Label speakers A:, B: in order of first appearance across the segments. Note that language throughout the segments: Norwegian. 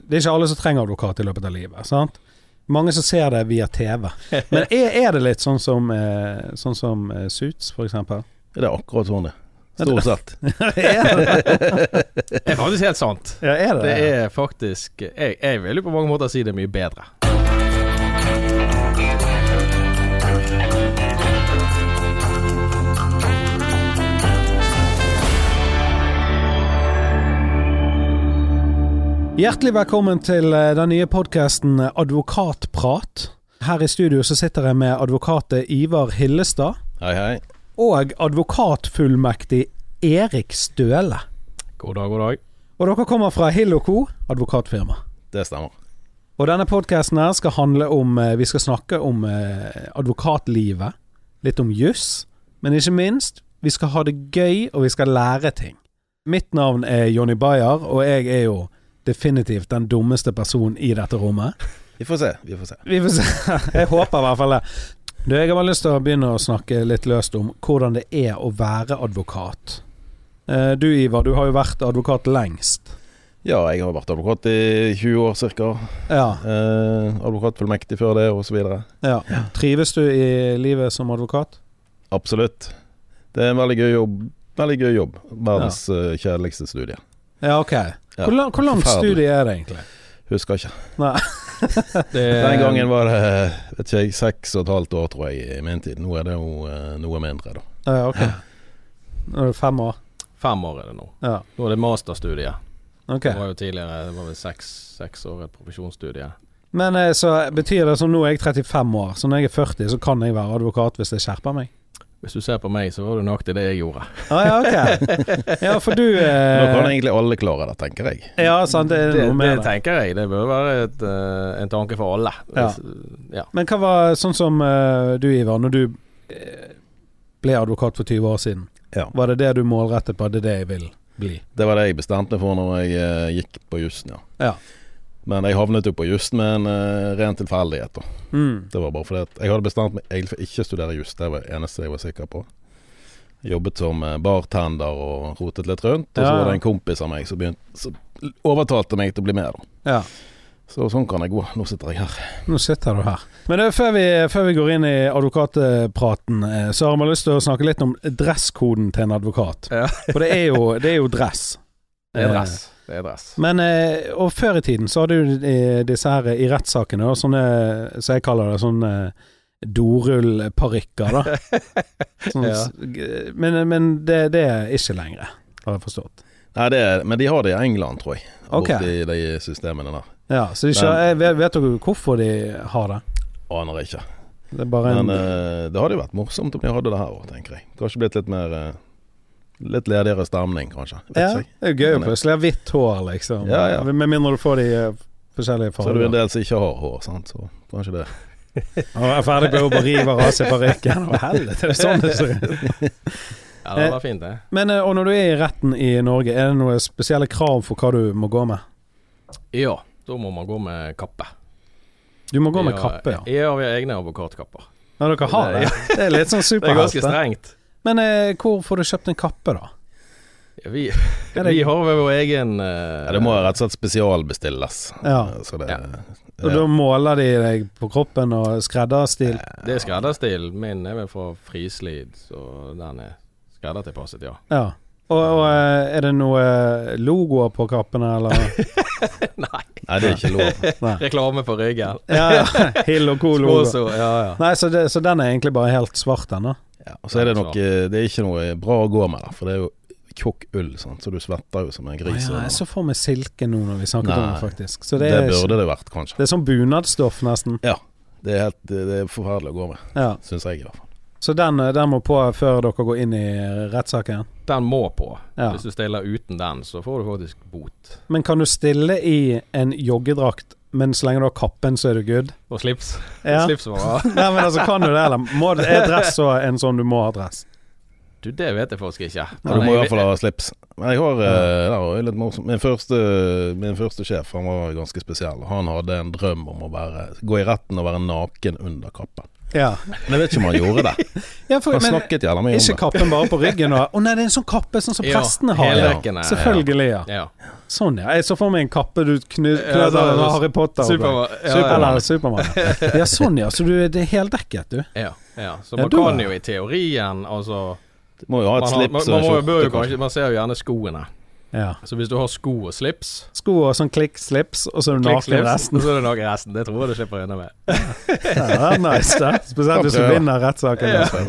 A: Det er ikke alle som trenger advokat i løpet av livet. Sant? Mange som ser det via TV. Men er, er det litt sånn som, eh, sånn som eh, Suits, for eksempel?
B: Det er akkurat sånn det Stort sett.
A: er,
C: Det er faktisk helt sant.
A: ja, er det
C: Det er faktisk Jeg, jeg vil jo på mange måter si det er mye bedre.
A: Hjertelig velkommen til eh, den nye podkasten Advokatprat. Her i studio så sitter jeg med advokatet Ivar Hillestad
B: Hei, hei.
A: og advokatfullmektig Erik Støle.
C: God dag, god dag.
A: Og dere kommer fra Hill Co., advokatfirma.
B: Det stemmer.
A: Og denne podkasten her skal handle om eh, Vi skal snakke om eh, advokatlivet. Litt om juss. Men ikke minst, vi skal ha det gøy, og vi skal lære ting. Mitt navn er Jonny Bayer, og jeg er jo definitivt den dummeste personen i dette rommet.
B: Vi får se. Vi får se.
A: Vi får se. Jeg håper i hvert fall det. Du, jeg har bare lyst til å begynne å snakke litt løst om hvordan det er å være advokat. Eh, Du Ivar, du har jo vært advokat lengst.
B: Ja, jeg har vært advokat i 20 år ca.
A: Ja,
B: Eh, advokatfullmektig før det, osv.
A: ja. Trives du i livet som advokat?
B: Absolutt. Det er en veldig gøy jobb. Veldig gøy jobb. Verdens eh, kjedeligste studie.
A: Ja, ok.
B: Ja.
A: Hvor, lang, hvor langt
B: Forferdelig.
A: studie er det egentlig?
B: Husker ikke.
C: Det,
B: Den gangen var det vet ikke jeg, seks og et halvt år, tror jeg, i min tid. Nå er det jo eh, noe mindre, da.
A: Ja, ok. Nå er det fem år.
C: Fem år er det nå.
A: Ja,
C: Nå er det masterstudie.
A: ok.
C: Det var jo tidligere det var vel seks, seks år et profesjonsstudie.
A: Men eh, så betyr det som nå er jeg 35 år, så når jeg er 40 så kan jeg være advokat hvis jeg skjerper meg.
C: Hvis du ser på meg, så var det nøyaktig det jeg gjorde.
A: Ja, ja, ok. Ja, for du
B: Nå kan
A: eh,
B: egentlig alle klare det, tenker jeg.
A: Ja, sant, det er
C: Det,
A: noe
C: det
A: med det.
C: tenker jeg. Det bør være et, eh, en tanke for alle.
A: Ja.
C: ja.
A: Men hva var sånn som eh, du, Ivar, når du eh, ble advokat for 20 år siden?
B: Ja.
A: Var det det du målrettet på? Det er det jeg vil bli?
B: Det var det jeg bestemte meg for når jeg eh, gikk på jussen, ja.
A: Ja.
B: Men jeg havnet jo på jussen med en eh, ren tilfeldighet, da.
A: Mm.
B: Det var bare fordi at jeg hadde bestemt meg egentlig for ikke å studere juss. Det var det eneste jeg var sikker på. Jeg Jobbet som eh, bartender og rotet litt rundt. Og så
A: Ja.
B: var det en kompis av meg som, begynte, som overtalte meg til å bli med. Da.
A: Ja.
B: Så sånn kan det gå. Nå sitter jeg her.
A: Nå sitter du her. Men du, før, vi, før vi går inn i advokatpraten, eh, så har vi lyst til å snakke litt om dresskoden til en advokat.
C: Ja.
A: For det er jo, det er jo dress.
C: Det er dress. Det er dress.
A: Eh, Men, eh, og før i tiden så hadde jo eh, disse her i rettssakene, og sånne, så jeg kaller det sånne dorullparykker, da. Sånn,
C: Ja.
A: g- Men, eh, men det, det er ikke lenger, har jeg forstått.
B: Nei, det er, men de har det i England, tror jeg.
A: Ok.
B: Borti de systemene der.
A: Ja, så de kjører, jeg vet, vet dere hvorfor de har det?
B: Aner ikke.
A: Det er bare en
B: Men eh, det hadde jo vært morsomt om de hadde det her òg, tenker jeg. Kanskje blitt litt mer eh, Litt ledigere stemning, kanskje. Vet
A: Ja,
B: ikke jeg.
A: det er jo gøy å plutselig ha hvitt hår, liksom.
B: Ja, ja.
A: Med mindre du får de eh, forskjellige
B: Så er det jo
A: farger.
B: en del som ikke har hår, sant. Så kanskje det.
A: Og er ferdig med å bare rive av seg parykken. Å, helvete, det er sånn det ser ut.
C: Ja, det var fint, det.
A: Men eh, og når du er i retten i Norge, er det noen spesielle krav for hva du må gå med?
C: Ja, da må man gå med kappe.
A: Du må gå med
C: Ja,
A: kappe, ja.
C: Ja, vi har egne advokatkapper.
A: Ja, dere har det? Det er litt sånn
C: Det er ganske
A: superhelt. det.
C: strengt.
A: Men eh, hvor får du kjøpt en kappe, da?
C: Ja, vi,
A: Er det-
C: vi har vel vår egen eh,
B: Ja, det må rett og slett spesialbestilles. Eh,
A: Ja.
B: Så det,
C: Ja.
A: Og da måler de deg på kroppen og skredderstil?
C: Det er skredderstil. Min er vel fra Frislid, så den er skreddertilpasset, ja.
A: Ja. Og, og eh, er det noe logoer på kappene, eller?
C: Nei,
B: Nei, det er ikke lov.
A: Nei.
C: reklame på ryggen.
A: Ja, ja. Hill og Co-logo.
C: Sponsor, ja, ja.
A: Nei, så, det, så den er egentlig bare helt svart ennå?
B: Ja, og så er det nok eh, Det er ikke noe bra å gå med, da, for det er jo tjukk ull, sant? så du svetter jo som en gris.
A: ja,
B: under.
A: jeg så for meg silke nå når vi snakket om det,
B: Nei.
A: faktisk. Så
B: det,
A: det er,
B: burde det vært, kanskje.
A: det er sånn bunadsstoff, nesten.
B: Det er, helt, det det er forferdelig å gå med,
A: Ja.
B: syns jeg i hvert fall.
A: Så den, eh, den må på før dere går inn i eh, rettssaken?
C: Den må på.
A: Ja.
C: Hvis du stiller uten den, så får du faktisk bot.
A: Men kan du stille i en joggedrakt, men så lenge du har kappen, så er du good?
C: Og slips.
A: Ja.
C: Slipsvarer.
A: Nei, men altså, kan du det, eller? Må, er dress så en sånn du må ha dress?
C: Du, det vet jeg faktisk ikke.
B: Men du
C: Men
B: må i
C: jeg-
B: hvert fall ha slips. Men jeg har eh, det var jo litt morsomt. Min første, min første sjef han var ganske spesiell. Han hadde en drøm om å være, gå i retten og være naken under kappen.
A: Ja.
B: Men jeg vet ikke om han gjorde det.
A: Ja, for,
B: Han
A: men,
B: snakket jævla mye om
A: ikke
B: det.
A: kappen bare på ryggen? Og, å nei, det er en sånn kappe sånn som
C: Ja,
A: prestene har.
B: hele-
A: Ja.
C: heldekkende,
A: Selvfølgelig, ja.
C: Ja.
A: Sånn, ja. Jeg så for meg en kappe du knu-
C: Ja,
A: knøt
C: sånn,
A: av Harry Potter. og-
C: Superman. Ja,
A: Superman.
C: ja,
A: Eller Superman. ja. Ja, sånn, ja. Så du, det er heldekket, du.
C: ja, ja. Så
A: Ja,
C: man
A: du
C: kan
A: er-
C: jo i teorien altså
B: Du må jo ha
C: Man,
B: et
C: har, man,
B: slips
C: man,
B: og
C: må jo-
B: en
C: bør jo
B: skjorte,
C: kanskje,
B: kanskje.
C: man ser jo gjerne skoene.
A: Ja.
C: Så hvis du har sko og slips
A: Sko og sånn klikkslips, og så er du naken
C: Klikkslips,
A: resten.
C: så er det noe i resten. Det tror jeg du slipper unna med.
A: Ja, det er nice, det. Spesielt hvis du
B: Prøver.
A: vinner rettssaken.
C: Ja.
A: altså.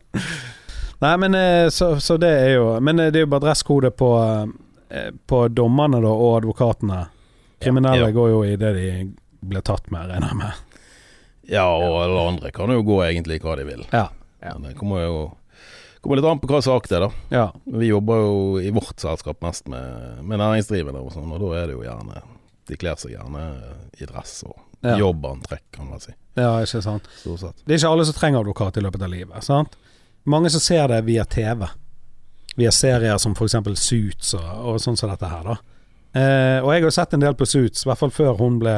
A: Yes. Nei, men eh, så, så det er jo Men eh, det er jo bare dresskode på, eh, på dommerne da, og advokatene. Kriminelle
B: Ja.
A: går jo i det de ble tatt med, regner jeg med.
B: Ja, og alle andre kan jo gå egentlig hva de vil.
A: Ja.
C: Ja.
B: Men det kommer jo kommer litt an på hva sak det er, da.
A: ja.
B: Vi jobber jo i vårt selskap mest med, med næringsdrivende og sånn, og da er det jo gjerne De kler seg gjerne i dress og
A: Ja.
B: jobbantrekk, kan man si.
A: ja, ikke sant.
B: Stort sett.
A: Det er ikke alle som trenger advokat i løpet av livet. Sant? Mange som ser det via TV. Via serier som f.eks. Suits og, og sånn som dette her. da eh, Og jeg har jo sett en del på Suits, i hvert fall før hun ble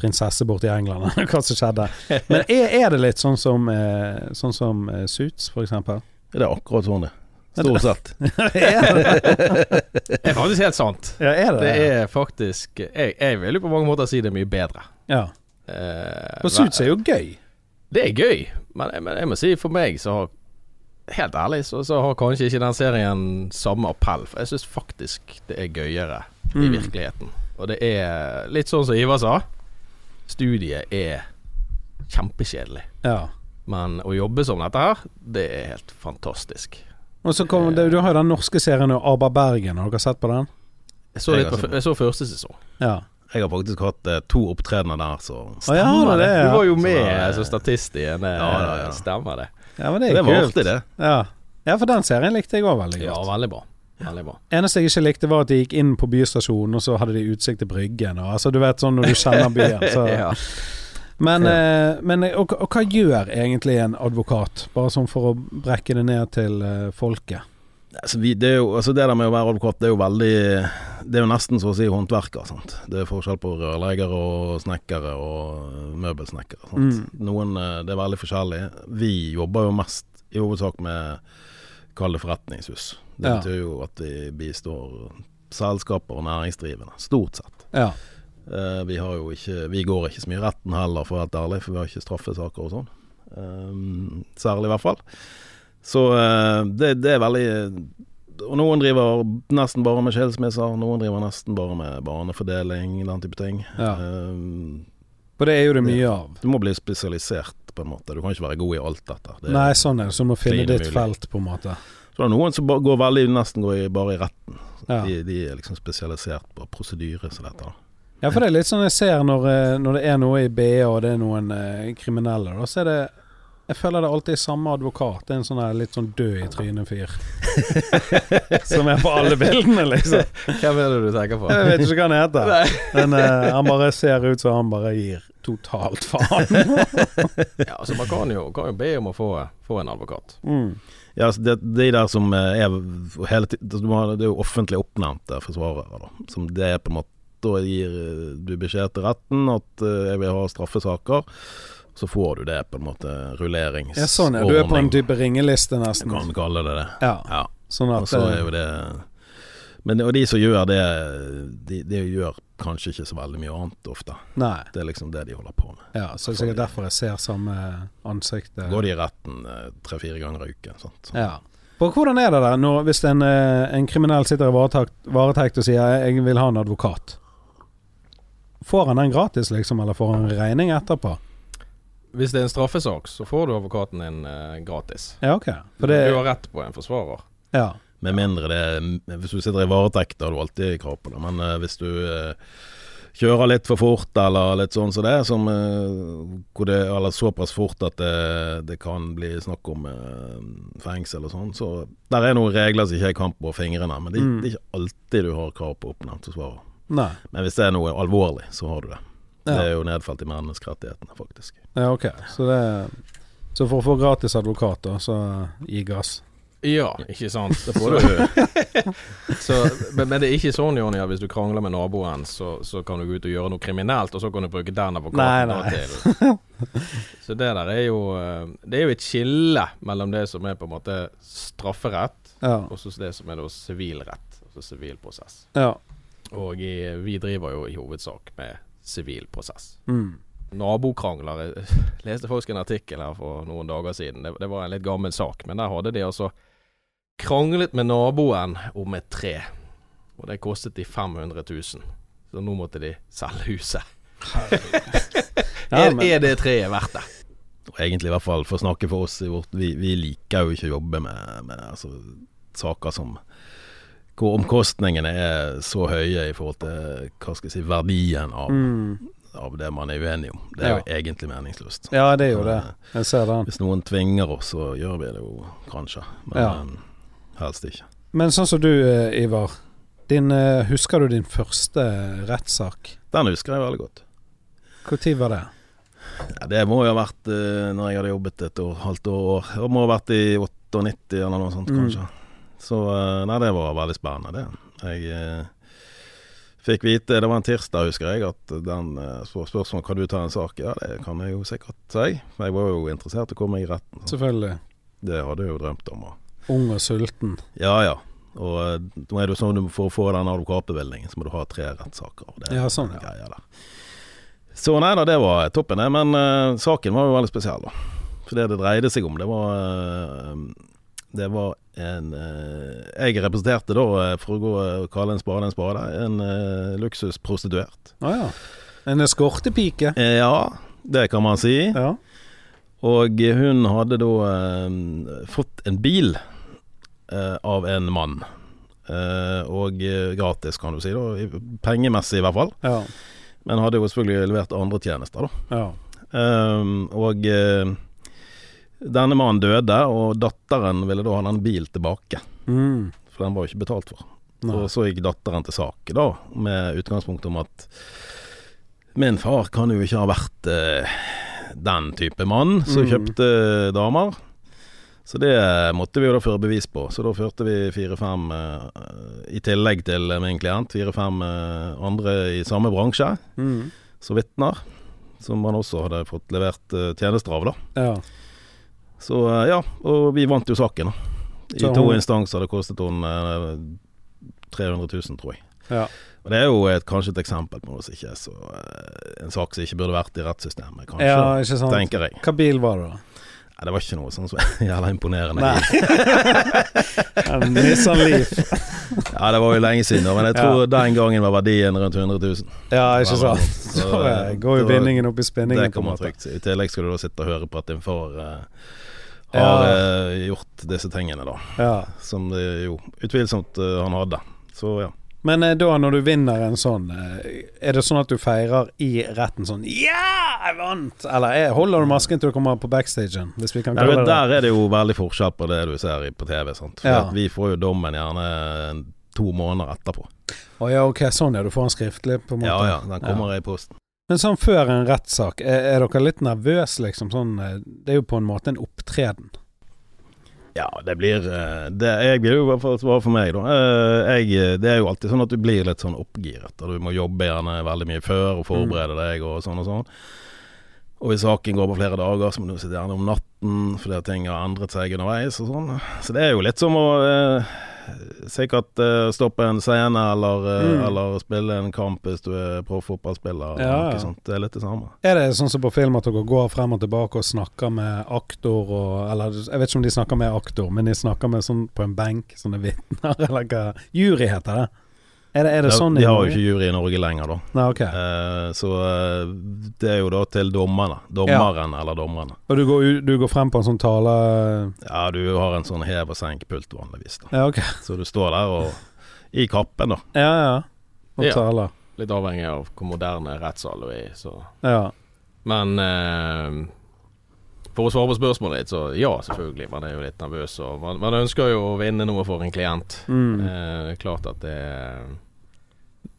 A: prinsesse borte i England. eller Hva som skjedde. Men er, er det litt sånn som, eh, sånn som eh, Suits, f.eks.?
B: Ja, Det er akkurat sånn det er. Stort sett.
C: Det er faktisk helt sant.
A: Ja, er det
C: Det er faktisk Jeg, jeg vil jo på mange måter si det er mye bedre.
A: Ja.
C: Eh,
A: Og Suits er jo gøy.
C: Det er gøy, men, men jeg må si for meg så har Helt ærlig så, så har kanskje ikke den serien samme appell, for jeg syns faktisk det er gøyere i
A: Mm.
C: virkeligheten. Og det er litt sånn som Ivar sa. Studiet er kjempekjedelig,
A: Ja.
C: men å jobbe som dette her, det er helt fantastisk.
A: Og så kommer det, Du har jo den norske serien Aba Bergen, har dere sett på den?
C: Jeg så, litt
B: Jeg har
C: på,
B: sett
C: f- jeg så første sesong.
A: Ja.
B: Jeg har faktisk hatt eh, to opptredener der, så
A: Å, ja, det, er
C: Du
A: det,
C: var jo
B: Så da-
C: med som statist i en eh,
B: Ja, ja, ja.
C: Stemmer det?
A: ja. ja, men det
B: Det
A: er
B: var
A: kult.
B: ofte det.
A: Ja. ja, for den serien likte jeg òg veldig godt.
C: Ja, veldig bra. Veldig bra.
A: Eneste jeg ikke likte var at de gikk inn på bystasjonen, og så hadde de utsikt til Bryggen. Og, altså, du vet sånn når du kjenner byen. Så.
C: Ja.
A: Men, eh, men og, og hva gjør egentlig en advokat, bare sånn for å brekke det ned til eh, folket?
B: Altså, vi, det, er jo, altså det der med å være advokat, det er jo veldig Det er jo nesten så å si håndverker. Sant? Det er forskjell på rørleggere og snekkere og møbelsnekkere. Sant? Noen, eh, det er veldig forskjellig. Vi jobber jo mest i hovedsak med kall det forretningshus. Det
A: Ja.
B: betyr jo at vi bistår selskaper og næringsdrivende, stort sett.
A: Ja.
B: Eh, vi, har jo ikke, vi går ikke så mye i retten heller, for å være helt ærlig, for vi har ikke straffesaker og sånn. Eh, særlig, i hvert fall. Så eh, det, det er veldig Og noen driver nesten bare med skilsmisser, noen driver nesten bare med barnefordeling, den type ting.
A: Ja.
B: Eh,
A: For det er jo det mye av.
B: du må bli spesialisert, på en måte. Du kan ikke være god i alt dette. Det er-
A: Nei, sånn er det. Som å finne
B: klin
A: ditt
B: umulig.
A: felt, på en måte.
B: Så det er noen som ba- går veldig, nesten går i, bare i retten.
A: Ja.
B: De, de er liksom spesialisert på prosedyre som dette. da.
A: ja, for det er litt sånn jeg ser når, eh, når det er noe i BE, og det er noen eh, kriminelle, da, så er det jeg føler det alltid er samme advokat. Det er en sånn her litt sånn død i trynet-fyr. Som er på alle bildene, liksom.
C: Hvem er det du tenker på?
A: Jeg vet ikke hva han heter.
C: Nei.
A: Men eh, han bare ser ut som han bare gir totalt faen.
C: Ja, altså Man kan jo, kan jo be om å få, få en advokat.
A: Mm.
B: Ja, altså det, de der som eh, er hele tiden du må ha- Det er jo offentlig oppnevnte forsvarere, da. Som det er på en måte Da gir eh, du beskjed til retten at eh, jeg vil ha straffesaker. Så får du det på en måte rulleringsordning.
A: Ja, sånn, ja. Du er på en type ringeliste,
B: Du
A: nesten.
B: kan kalle det det.
A: Ja,
B: Ja.
A: sånn
B: Og
A: at
B: så er
A: eh,
B: jo det Men og de som gjør det, de, de gjør kanskje ikke så veldig mye annet ofte.
A: Nei.
B: Det er liksom det de holder på med.
A: Ja, så det er sikkert derfor jeg ser samme ansikt. eh.
B: Går de i retten eh, tre-fire ganger i uken. Sant? Så-
A: Ja. For hvordan er det der når, hvis en, eh, en kriminell sitter i varetakt, varetekt og sier 'jeg vil ha en advokat'? Får han den gratis, liksom, eller får han regning etterpå?
C: Hvis det er en straffesak, så får du advokaten din eh, gratis.
A: Ja, ok. For
C: Du
A: det
C: har rett på en forsvarer.
A: Ja.
B: Med mindre det er Hvis du sitter i varetekt, da har du alltid krav på det. Men eh, hvis du eh, kjører litt for fort eller litt sånn som det, som, eh, hvor det eller såpass fort at det, det kan bli snakk om eh, fengsel og sånn, så der er noen regler som ikke jeg kan på fingrene. Men det,
A: Mm.
B: det er ikke alltid du har krav på oppnevnt forsvarer.
A: Nei.
B: Men hvis det er noe alvorlig, så har du det. Det
A: Ja.
B: er jo nedfelt i menneskerettighetene, faktisk.
A: Ja, ok. Så, det, så for å få gratis advokat, da, så gi gass.
C: Ja, ikke sant.
B: Det får du.
C: Så, men, men det er ikke sånn, Jonny, at hvis du krangler med naboen, så, så kan du gå ut og gjøre noe kriminelt, og så kan du bruke den
A: Nei,
C: advokaten
A: nei.
C: da til Så det der er jo eh, Det er jo et skille mellom det som er på en måte strafferett,
A: Ja.
C: og så det som er da sivilrett, altså sivil prosess.
A: ja.
C: Og i, vi driver jo i hovedsak med sivil prosess.
A: Mm.
C: Nabokrangler Jeg leste faktisk en artikkel her for noen dager siden. Det, det var en litt gammel sak, men der hadde de altså kranglet med naboen om et tre. Og det kostet de 500 000. Så nå måtte de selge huset.
A: Ja,
C: er,
A: men-
C: er det treet verdt det?
B: Og egentlig i hvert fall for å snakke for oss i vårt Vi, vi liker jo ikke å jobbe med, med altså, saker som hvor omkostningene er så høye i forhold til hva skal jeg si, verdien av,
A: Mm.
B: av det man er uenig om. Det er jo egentlig meningsløst. Eh,
A: ja, det er jo det. Jeg ser den.
B: Hvis noen tvinger oss, så gjør vi det jo kanskje, men
A: Ja.
B: eh, helst ikke.
A: Men sånn som du, eh, Ivar. Din, eh, husker du din første eh, rettssak?
B: Den husker jeg veldig godt.
A: Når var det?
B: Ja, det må jo ha vært eh, når jeg hadde jobbet et år, halvt år. Det må ha vært i 98 eller noe sånt,
A: Mm.
B: kanskje. Så eh, nei, det var veldig spennende, det. Jeg eh, fikk vite, det var en tirsdag, husker jeg, at den eh, spør spørsmålet kan du ta en sak. Ja, det kan jeg jo sikkert si. For jeg var jo interessert i å komme i retten. Så
A: Selvfølgelig.
B: det hadde jeg jo drømt om. Og,
A: Ung og sulten.
B: ja ja. Og eh, nå er det jo sånn du- for å få den advokatbevilgningen, så må du ha tre rettssaker. og Det
A: Ja, sånn, ja.
B: greier der. Så nei da, det var toppen det. Men eh, saken var jo veldig spesiell, da. For det det dreide seg om, det var eh, Det var en eh, Jeg representerte da, eh, for å gå og kalle en spade en spade, en eh, luksusprostituert.
A: Å ja. En eskortepike.
B: Eh, ja, det kan man si.
A: Ja.
B: Og hun hadde da eh, fått en bil eh, av en mann. Eh, og eh, gratis, kan du si. da i- Pengemessig, i hvert fall.
A: Ja.
B: Men hadde jo selvfølgelig levert andre tjenester, da.
A: ja.
B: Eh, og eh, denne mannen døde, og datteren ville da ha den bilen tilbake.
A: Mm.
B: For den var jo ikke betalt for.
A: Nei.
B: Og så gikk datteren til sak, da, med utgangspunkt om at min far kan jo ikke ha vært eh, den type mann som
A: Mm.
B: kjøpte damer. Så det måtte vi jo da føre bevis på. Så da førte vi fire-fem, eh, i tillegg til min klient, fire-fem eh, andre i samme bransje
A: Mm.
B: som vitner. Som man også hadde fått levert eh, tjenester av, da.
A: Ja.
B: Så eh, ja, og vi vant jo saken. da. I
A: Så
B: to
A: hun-
B: instanser. Det kostet hun eh, 300 000, tror jeg.
A: Ja.
B: Og Det er jo et, kanskje et eksempel på noe som ikke er så eh, En sak som ikke burde vært i rettssystemet, kanskje.
A: ja, ikke sant.
B: Tenker jeg.
A: Hva bil var det, da?
B: Nei, det var ikke noe sånn som jævla imponerende.
A: Nei. Nissan Leaf.
B: Ja, Det var jo lenge siden, da, men jeg tror den gangen var verdien rundt 100 000.
A: Ja, ikke
B: Eller noe
A: sant.
B: sånt.
A: Så
B: eh,
A: eh, går jo
B: det var-
A: bindingen opp i
B: Det
A: spinningen. på
B: kan
A: en
B: man
A: måte.
B: trygt si. I tillegg skal du da sitte og høre på at din far eh, har eh, gjort disse tingene, da.
A: Ja.
B: Som det jo utvilsomt eh, han hadde. Så ja.
A: Men eh, da, når du vinner en sånn, eh, er det sånn at du feirer i retten sånn Ja, jeg vant! Eller eh, holder du masken til du kommer på backstagen? Hvis vi kan
B: Mm. Nei, men
A: kalle det det.
B: der er det jo veldig forskjell på det du ser i- på TV. Sant? For
A: Ja.
B: at vi får jo dommen gjerne to måneder etterpå.
A: Å ja, ok, sånn ja. Du får den skriftlig, på en måte.
B: Ja ja, den kommer i posten.
A: Men sånn før en rettssak, er, er dere litt nervøse, liksom? Sånn, eh, det er jo på en måte en opptreden.
B: Ja, det blir eh, det, Jeg vil jo i hvert fall svare for meg, da. Eh, Jeg, det er jo alltid sånn at du blir litt sånn oppgiret. Og du må jobbe gjerne veldig mye før og
A: Mm.
B: forberede deg og sånn og sånn. Og hvis saken går på flere dager, så må du sitte gjerne om natten fordi at ting har endret seg underveis og sånn. Så det er jo litt som å eh, sikkert eh, stoppe en scene eller, eh,
A: Mm.
B: eller spille en kamp hvis du er
A: Ja,
B: proff-fotballspiller. eller
A: ja.
B: noe sånt. Det er litt det samme.
A: Er det sånn som på film at dere går frem og tilbake og snakker med aktor og Eller jeg vet ikke om de snakker med aktor, men de snakker med sånn på en benk, sånne vitner, eller hva Jury heter det. Er det, er det
B: Ja,
A: sånn
B: De
A: i
B: har jo
A: Norge?
B: ikke jury i Norge lenger, da.
A: Nei, ok.
B: Eh, Så eh, det er jo da til dommerne. Dommeren eller dommerne.
A: Og du går, u- du går frem på en sånn tale
B: Ja, du har en sånn hev og senk-pult vanligvis, da.
A: Ja, ok.
B: Så du står der og i kappen, da.
A: Ja, ja. Og
C: Ja.
A: taler.
C: Litt avhengig av hvor moderne rettssal du er i, så
A: Ja.
C: Men eh, for å svare på spørsmålet ditt, så ja, selvfølgelig. Man er jo litt nervøs, og man, man ønsker jo å vinne noe for en klient.
A: Mm.
C: Eh, det er klart at det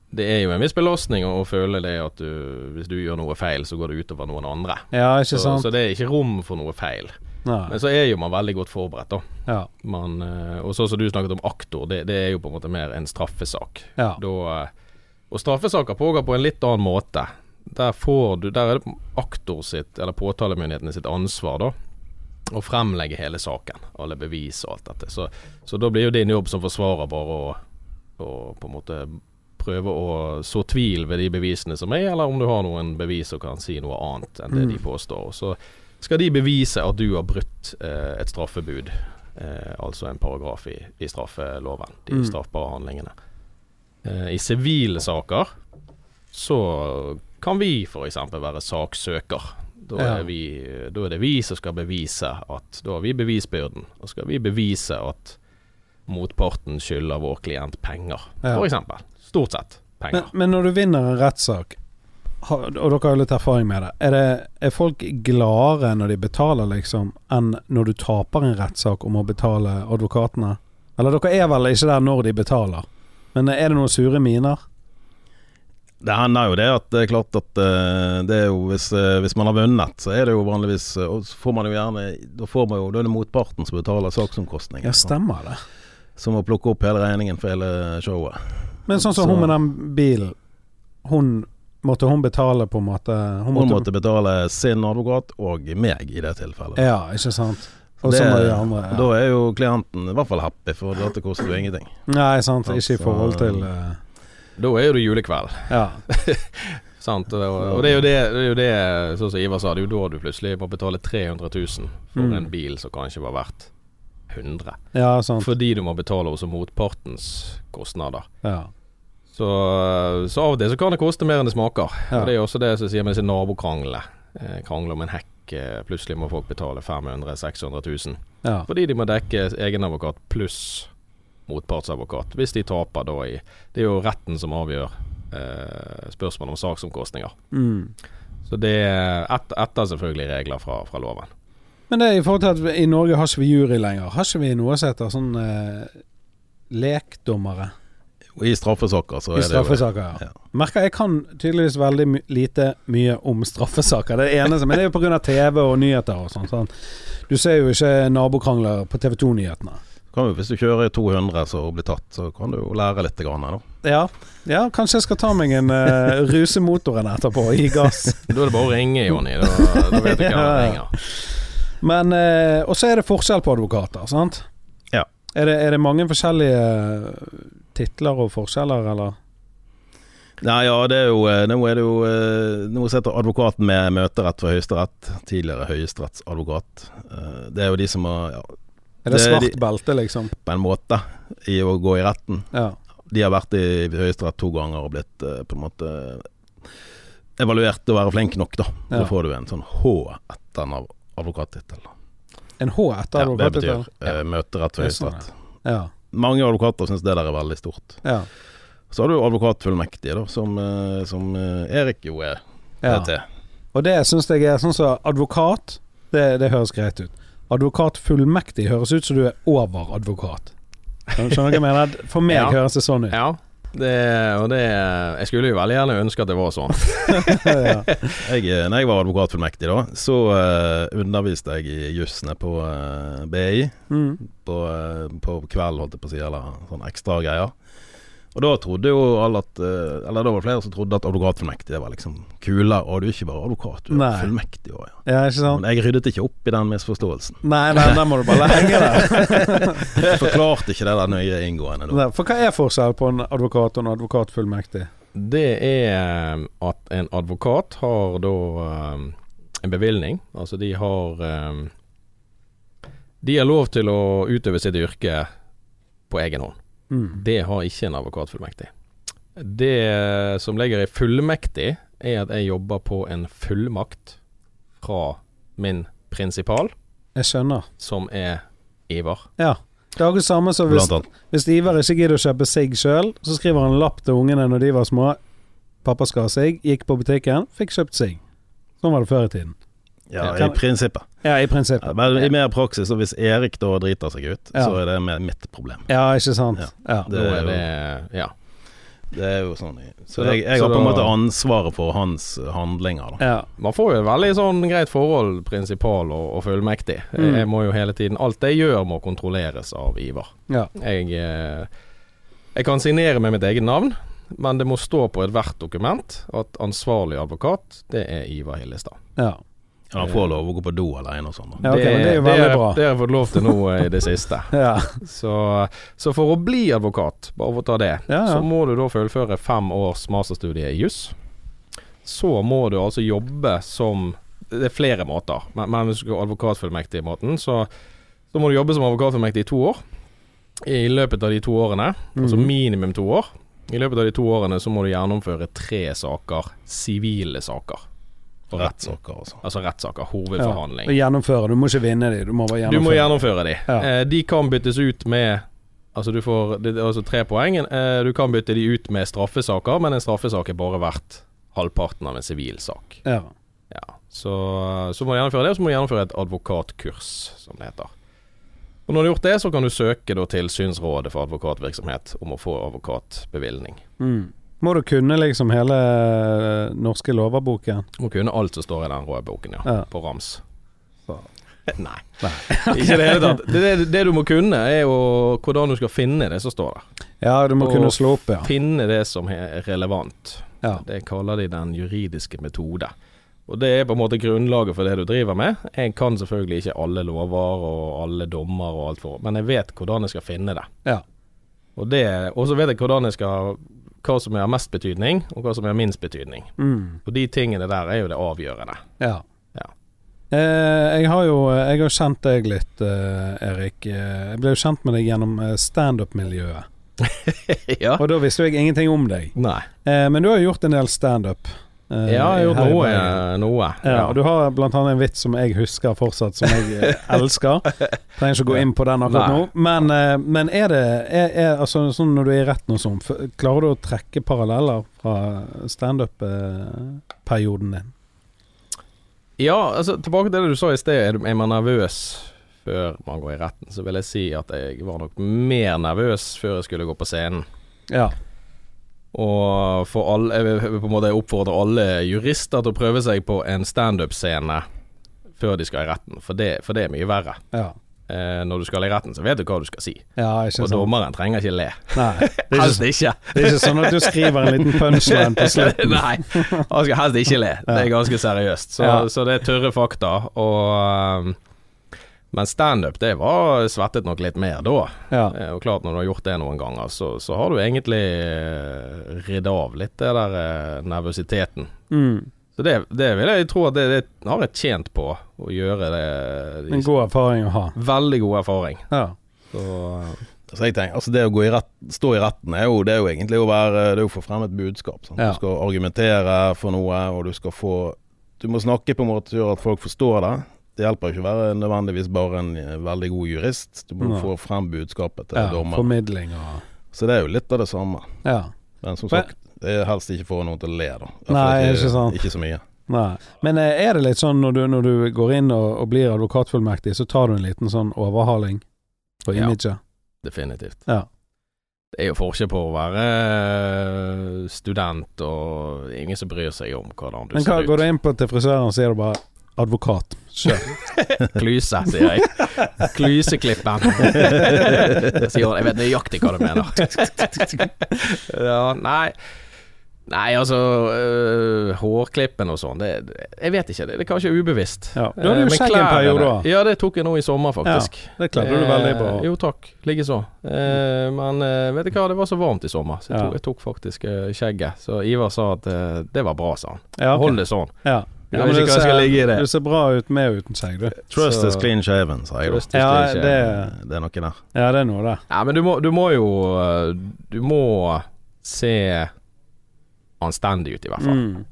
C: Det er jo en viss belastning å å føle det at du, hvis du gjør noe feil, så går det utover noen andre.
A: Ja, ikke
C: Så,
A: sant?
C: så det er ikke rom for noe feil.
A: Nei.
C: Men så er jo man veldig godt forberedt, da.
A: Ja.
C: Man, eh, og sånn som du snakket om aktor, det, det er jo på en måte mer en straffesak.
A: ja.
C: Da, eh, og straffesaker pågår på en litt annen måte. Der, får du, der er det aktor sitt, eller påtalemyndighetene sitt ansvar, da. Å fremlegge hele saken, alle bevis og alt dette. Så, så da blir jo din jobb som forsvarer bare å, å på en måte prøve å så tvil ved de bevisene som er, eller om du har noen bevis som kan si noe annet enn det de
A: Mm.
C: påstår. Og Så skal de bevise at du har brutt eh, et straffebud, eh, altså en paragraf i, i straffeloven, de
A: Mm.
C: straffbare handlingene. Eh, I sivile saker så kan vi f.eks. være saksøker. Da
A: Ja.
C: er, vi, da er det vi som skal bevise at Da har vi bevisbyrden. Da skal vi bevise at motparten skylder vår klient penger,
A: Ja.
C: f.eks. Stort sett penger.
A: Men, men når du vinner en rettssak, har- og dere har jo litt erfaring med det, er, det, er folk gladere når de betaler, liksom, enn når du taper en rettssak om å betale advokatene? Eller dere er vel ikke der når de betaler, men er det noen sure miner?
B: Det hender jo det at det er klart at eh, det er jo hvis, eh, hvis man har vunnet, så er det jo vanligvis eh, Og så får man jo gjerne Da får man jo Da er det motparten som betaler saksomkostninger.
A: Ja, stemmer det.
B: Som må plukke opp hele regningen for hele showet.
A: Men sånn som
B: Så-
A: hun med den bilen, hun måtte hun betale på en måte Hun
B: Hun måtte betale sin advokat og meg i det tilfellet.
A: Ja, ikke sant. Og
B: Det-
A: så må de andre
B: Og
A: ja.
B: Da er jo klienten i hvert fall happy, for dette koster jo ingenting.
A: Nei, sant. Ikke i
B: Altså-
A: forhold til eh,
C: Da er det julekveld.
A: Ja.
C: Sant? Og, og det er jo det, det, er jo det sånn som Ivar sa, det er jo da du plutselig må betale 300 000 for
A: Mm.
C: en bil som kanskje var verdt 100
A: ja, sant.
C: Fordi du må betale også motpartens kostnader.
A: Ja.
C: Så, så av og til så kan det koste mer enn det smaker.
A: Ja.
C: Og Det er jo også det som sier med disse nabokranglene. Eh, Krangle om en hekk. eh, Plutselig må folk betale 500 000-600 000
A: ja.
C: fordi de må dekke egenadvokat pluss motpartsadvokat. Hvis de taper da i Det er jo retten som avgjør eh, spørsmål om saksomkostninger.
A: Mm.
C: Så det er et, etter selvfølgelig regler fra, fra loven.
A: Men det er i forhold til at i Norge har ikke vi jury lenger. Har ikke vi noe som heter sånn eh, lekdommere
B: Og I straffesaker så
A: i
B: er det jo
A: straffesaker?
B: ja.
A: Ja. Merker jeg kan tydeligvis veldig my lite mye om straffesaker. Det er det eneste, men det er jo pga. TV og nyheter og sånn. Sant? Du ser jo ikke nabokrangler på TV 2-nyhetene.
B: kan jo, Hvis du kjører i 200 så og blir tatt, så kan du jo lære litt. Grann, her, da.
A: Ja. ja, kanskje jeg skal ta meg en eh, ruse motoren etterpå og gi gass.
C: Da er det bare å ringe, Jonny. Da, da vet du hvem
A: Ja.
C: han ringer.
A: Men eh, Og så er det forskjell på advokater, sant?
B: Ja.
A: Er det, er det mange forskjellige titler og forskjeller, eller?
B: Nei, ja, det er jo, eh, nå er det jo eh, Nå sitter advokaten med møterett for Høyesterett. Tidligere høyesterettsadvokat. Eh, Det er jo de som har ja,
A: Er det,
B: Det er de-
A: svart belte, liksom?
B: på en måte i å gå i retten.
A: Ja.
B: De har vært i Høyesterett to ganger og blitt eh, på en måte evaluert til å være flink nok, da. Så
A: Ja.
B: får du en sånn H etter en av- advokattittel. da.
A: En H etter
B: Ja, det
A: advokattittel?
B: betyr eh, møterett for
A: Det er sånn,
B: Høyesterett.
A: Ja.
B: Mange advokater syns det der er veldig stort.
A: Ja.
B: Så har du advokatfullmektig, da, som, eh, som eh, Erik jo er, er
A: ja.
B: til.
A: Og det syns jeg er sånn som advokat, det, det høres greit ut. Advokat fullmektig høres ut som du er over advokat. Skjønner skjønner du hva jeg mener? For meg
C: Ja.
A: høres det sånn ut.
C: Ja, det, og det Jeg skulle jo veldig gjerne ønske at det var sånn.
A: ja.
B: Jeg, eh, når jeg var advokatfullmektig, da, så eh, underviste jeg i jussene på eh, BI.
A: Mm.
B: På, eh, på kvelden, holdt jeg på å si, eller sånne ekstra greier. Og da trodde jo alle at eh, Eller da var det flere som trodde at advokatfullmektig det var liksom kulere. Og du er ikke bare advokat, du er
A: Nei.
B: fullmektig òg, ja.
A: ja, ikke sant?
B: Men jeg ryddet ikke opp i den misforståelsen.
A: Nei, nei, der må du bare henge deg.
B: Jeg forklarte ikke det der nøye inngående. Da.
A: Nei, For hva er forskjell på en advokat og en advokat fullmektig?
C: Det er eh, at en advokat har da eh, en bevilgning. Altså de har eh, De har lov til å utøve sitt yrke på egen hånd.
A: Mm.
C: Det har ikke en advokatfullmektig. Det som ligger i fullmektig, er at jeg jobber på en fullmakt fra min prinsipal,
A: Jeg skjønner.
C: som er Ivar.
A: Ja. Det er akkurat samme som hvis
B: Blant annet.
A: Hvis Ivar ikke gidder å kjøpe sigg sjøl, så skriver han lapp til ungene når de var små. 'Pappa skal ha sigg', gikk på butikken, fikk kjøpt sigg. Sånn var det før i tiden.
B: Ja, i
A: Kan-
B: prinsippet.
A: Ja, i prinsippet.
B: Ja, men I mer praksis, og hvis Erik da driter seg ut,
A: Ja.
B: så er det mer mitt problem.
A: Ja, ikke sant. Ja.
B: Det
C: Da
B: er
C: er
B: jo-
C: det Ja.
B: Det er jo sånn jeg- Så
C: Så da-
B: jeg, jeg
C: så
B: har på en
C: da-
B: måte ansvaret for hans eh, handlinger, da.
A: Ja.
C: Man får jo et veldig sånn greit forhold, prinsipal og, og fullmektig.
A: Mm.
C: Jeg må jo hele tiden Alt jeg gjør, må kontrolleres av Ivar.
A: Ja.
C: Jeg, eh, jeg kan signere med mitt eget navn, men det må stå på ethvert dokument at ansvarlig advokat, det er Ivar Hillestad.
A: ja.
B: Han får lov å gå på do alene og sånn, da.
A: ja ok, men det er jo
C: har
A: veldig
C: jeg-
A: bra.
C: Det har jeg fått lov til nå eh, i det siste.
A: Ja.
C: Så, så for å bli advokat, bare for å ta det,
A: Ja, ja.
C: så må du da fullføre fem års masterstudie i juss. Så må du altså jobbe som Det er flere måter, men, men hvis du skal advokatfullmektig-måten, så, så må du jobbe som advokatfullmektig i to år. I løpet av de to årene, altså
A: Mhm.
C: minimum to år, i løpet av de to årene så må du gjennomføre tre saker, sivile saker. For retten.
B: Rettssaker, altså.
C: Altså rettssaker,
A: Ja.
C: hovedforhandling.
A: Og gjennomføre. Du må ikke vinne de, du må bare
C: Du
A: gjennomføre.
C: må gjennomføre de.
A: Ja.
C: Eh, de kan byttes ut med Altså du får det er altså tre poeng. Eh, du kan bytte de ut med straffesaker, men en straffesak er bare verdt halvparten av en sivil sak.
A: Ja.
C: Ja. Så, eh, så må du gjennomføre det, og så må du gjennomføre et advokatkurs, som det heter. Og når du har gjort det, så kan du søke da Tilsynsrådet for advokatvirksomhet om å få advokatbevilgning.
A: Mm. Må du kunne liksom hele eh, norske loverboken?
C: Må kunne alt som står i den røde boken, ja.
A: Ja.
C: På rams.
A: Så.
C: Nei. Ikke i det hele tatt. Det, det, det du må kunne, er jo hvordan du skal finne det som står der.
A: Ja, du må
C: Og
A: kunne slå opp, ja.
C: finne det som er relevant.
A: ja.
C: Det kaller de den juridiske metode. Og det er på en måte grunnlaget for det du driver med. Jeg kan selvfølgelig ikke alle lover og alle dommer og alt for, men jeg vet hvordan jeg skal finne det.
A: Ja.
C: Og det- og så vet jeg hvordan jeg skal hva som har mest betydning, og hva som har minst betydning.
A: Mm.
C: Og de tingene der er jo det avgjørende.
A: Ja.
C: Ja.
A: Eh, jeg har jo jeg har kjent deg litt, eh, Erik. Eh, Jeg ble jo kjent med deg gjennom eh, standup-miljøet.
C: ja.
A: Og da visste jo jeg ingenting om deg.
C: Nei.
A: Eh, men du har jo gjort en del standup. eh,
C: Jeg har gjort
A: her i
C: noe.
A: Bergen.
C: noe.
A: Ja, og du har blant annet en vits som jeg husker fortsatt, som jeg eh, elsker. Trenger ikke å gå inn på den akkurat nå.
C: Nei.
A: Men, eh, men er det er, er, altså, sånn Når du er i retten og sånn, f- klarer du å trekke paralleller fra standup-perioden din?
C: Ja, altså tilbake til det du sa i sted. Er, du- er man nervøs før man går i retten, så vil jeg si at jeg var nok mer nervøs før jeg skulle gå på scenen.
A: Ja.
C: Og for alle, jeg vil jeg vil på en måte oppfordre alle jurister til å prøve seg på en standup-scene før de skal i retten, for det, for det er mye verre.
A: Ja,
C: Eh, når du skal i retten, så vet du hva du skal si,
A: ja ikke
C: og
A: sant.
C: dommeren trenger ikke le.
A: Nei, det er,
C: Helst
A: ikke,
C: ikke!
A: det er ikke sånn at du skriver en liten punchline på slutten.
C: Nei, han skal helst ikke le. Det er ganske seriøst. Så,
A: Ja.
C: så det er tørre fakta. Og, um, men standup, det var svettet nok litt mer da.
A: Ja,
C: Eh, Og klart, når du har gjort det noen ganger, så, så har du egentlig eh, ridd av litt det der eh, nervøsiteten.
A: mm.
C: Så det, det vil jeg tro at det, det har jeg tjent på, å gjøre det.
A: En god erfaring å ha.
C: Veldig god erfaring.
A: Ja.
C: Så,
B: Så jeg tenker, altså Det å gå i rett, stå i retten er jo, det er jo egentlig å være Det er jo å få frem et budskap. Sant?
A: Ja.
B: Du skal argumentere for noe, og du skal få Du må snakke på en måte som gjør at folk forstår det. Det hjelper jo ikke å være nødvendigvis bare en eh, veldig god jurist. Du må
A: Nei.
B: få frem budskapet til
A: ja.
B: dommeren.
A: Formidling og
B: Så det er jo litt av det samme.
A: Ja.
B: Men som
A: Men-
B: sagt, det er helst ikke få noen til å le, da. Iallfall
A: Nei, ikke sant.
B: Ikke så mye.
A: Nei. Men eh, er det litt sånn når du, når du går inn og, og blir advokatfullmektig, så tar du en liten sånn overhaling på
C: Ja.
A: imaget?
C: definitivt.
A: Ja.
C: Det er jo forskjell på å være eh, student og ingen som bryr seg om hvordan du
A: Men hva,
C: ser ut.
A: går du inn på til frisøren, så er du bare advokat. Kjør.
C: Klyse, sier jeg. Klyseklippen. Jeg sier jeg vet nøyaktig hva du mener. Ja, nei Nei, altså øh, Hårklippen og sånn, det, det- jeg vet ikke. Det, det er kanskje ubevisst.
A: Ja. Du hadde jo
C: Eh, men
A: skjegg en
C: klærne-
A: periode også.
C: Ja, det tok jeg nå i sommer, faktisk.
A: Det klarte du veldig bra.
C: Eh, Jo, takk. Likeså. Eh, men eh, vet du hva, det var så varmt i sommer, så jeg,
A: Mm. Ja.
C: tok, jeg tok faktisk eh, skjegget. Så Ivar sa at eh, det var bra, sa han.
A: Ja, ok.
C: Hold det sånn.
A: Ja.
C: Jeg
A: Ja,
C: vet
A: men
C: ikke hva jeg skal ligge i det.
A: Du ser bra ut med og uten skjegg, du.
B: Trust
C: Så-
B: is clean shaven, sier jeg da.
C: Trust is
A: Ja,
C: clean shaven.
A: det,
B: Det er noe der.
A: ja, det er noe der.
C: Nei, men du må, du må jo eh, Du må se anstendig ut, i hvert fall.
A: Mm.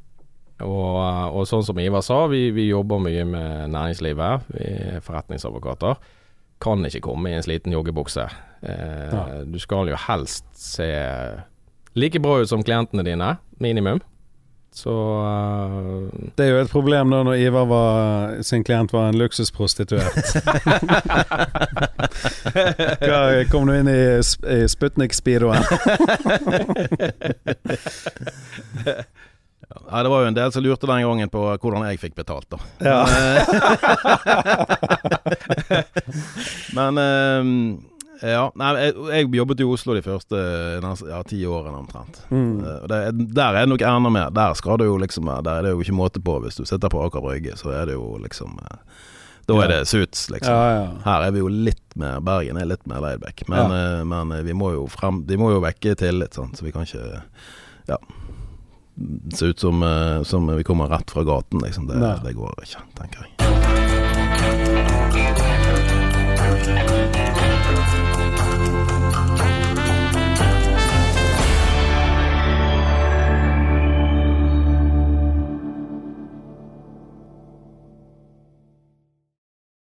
C: Og, eh, og sånn som Ivar sa, vi, vi jobber mye med næringslivet. Vi er forretningsadvokater. Kan ikke komme i en sliten joggebukse. Eh,
A: Ja.
C: Du skal jo helst se like bra ut som klientene dine, minimum. Så eh,
A: Det er jo et problem da når Ivar var, sin klient var en luksusprostituert. Hva- Kom du inn i, sp- i Sputnik-speedoen?
B: Ja, det var jo en del som lurte den gangen på hvordan jeg fikk betalt, da.
A: Ja.
B: Men eh, ja, nei, jeg, jeg jobbet jo i Oslo de første ja, ti årene omtrent.
A: Mm.
B: Eh, og Det, der er det nok enda mer. Der skal du jo liksom eh, Der er det jo ikke måte på. Hvis du sitter på Aker Brygge, så er det jo liksom eh, Da er det suits, liksom.
A: Ja, ja.
B: Her er vi jo litt mer Bergen er litt mer laidback. Men, eh, men eh, vi må jo frem De må jo vekke tillit, sant? så vi kan ikke Ja. Se ut som, eh, som vi kommer rett fra gaten, liksom. Det,
A: Nei.
B: det går ikke, tenker jeg.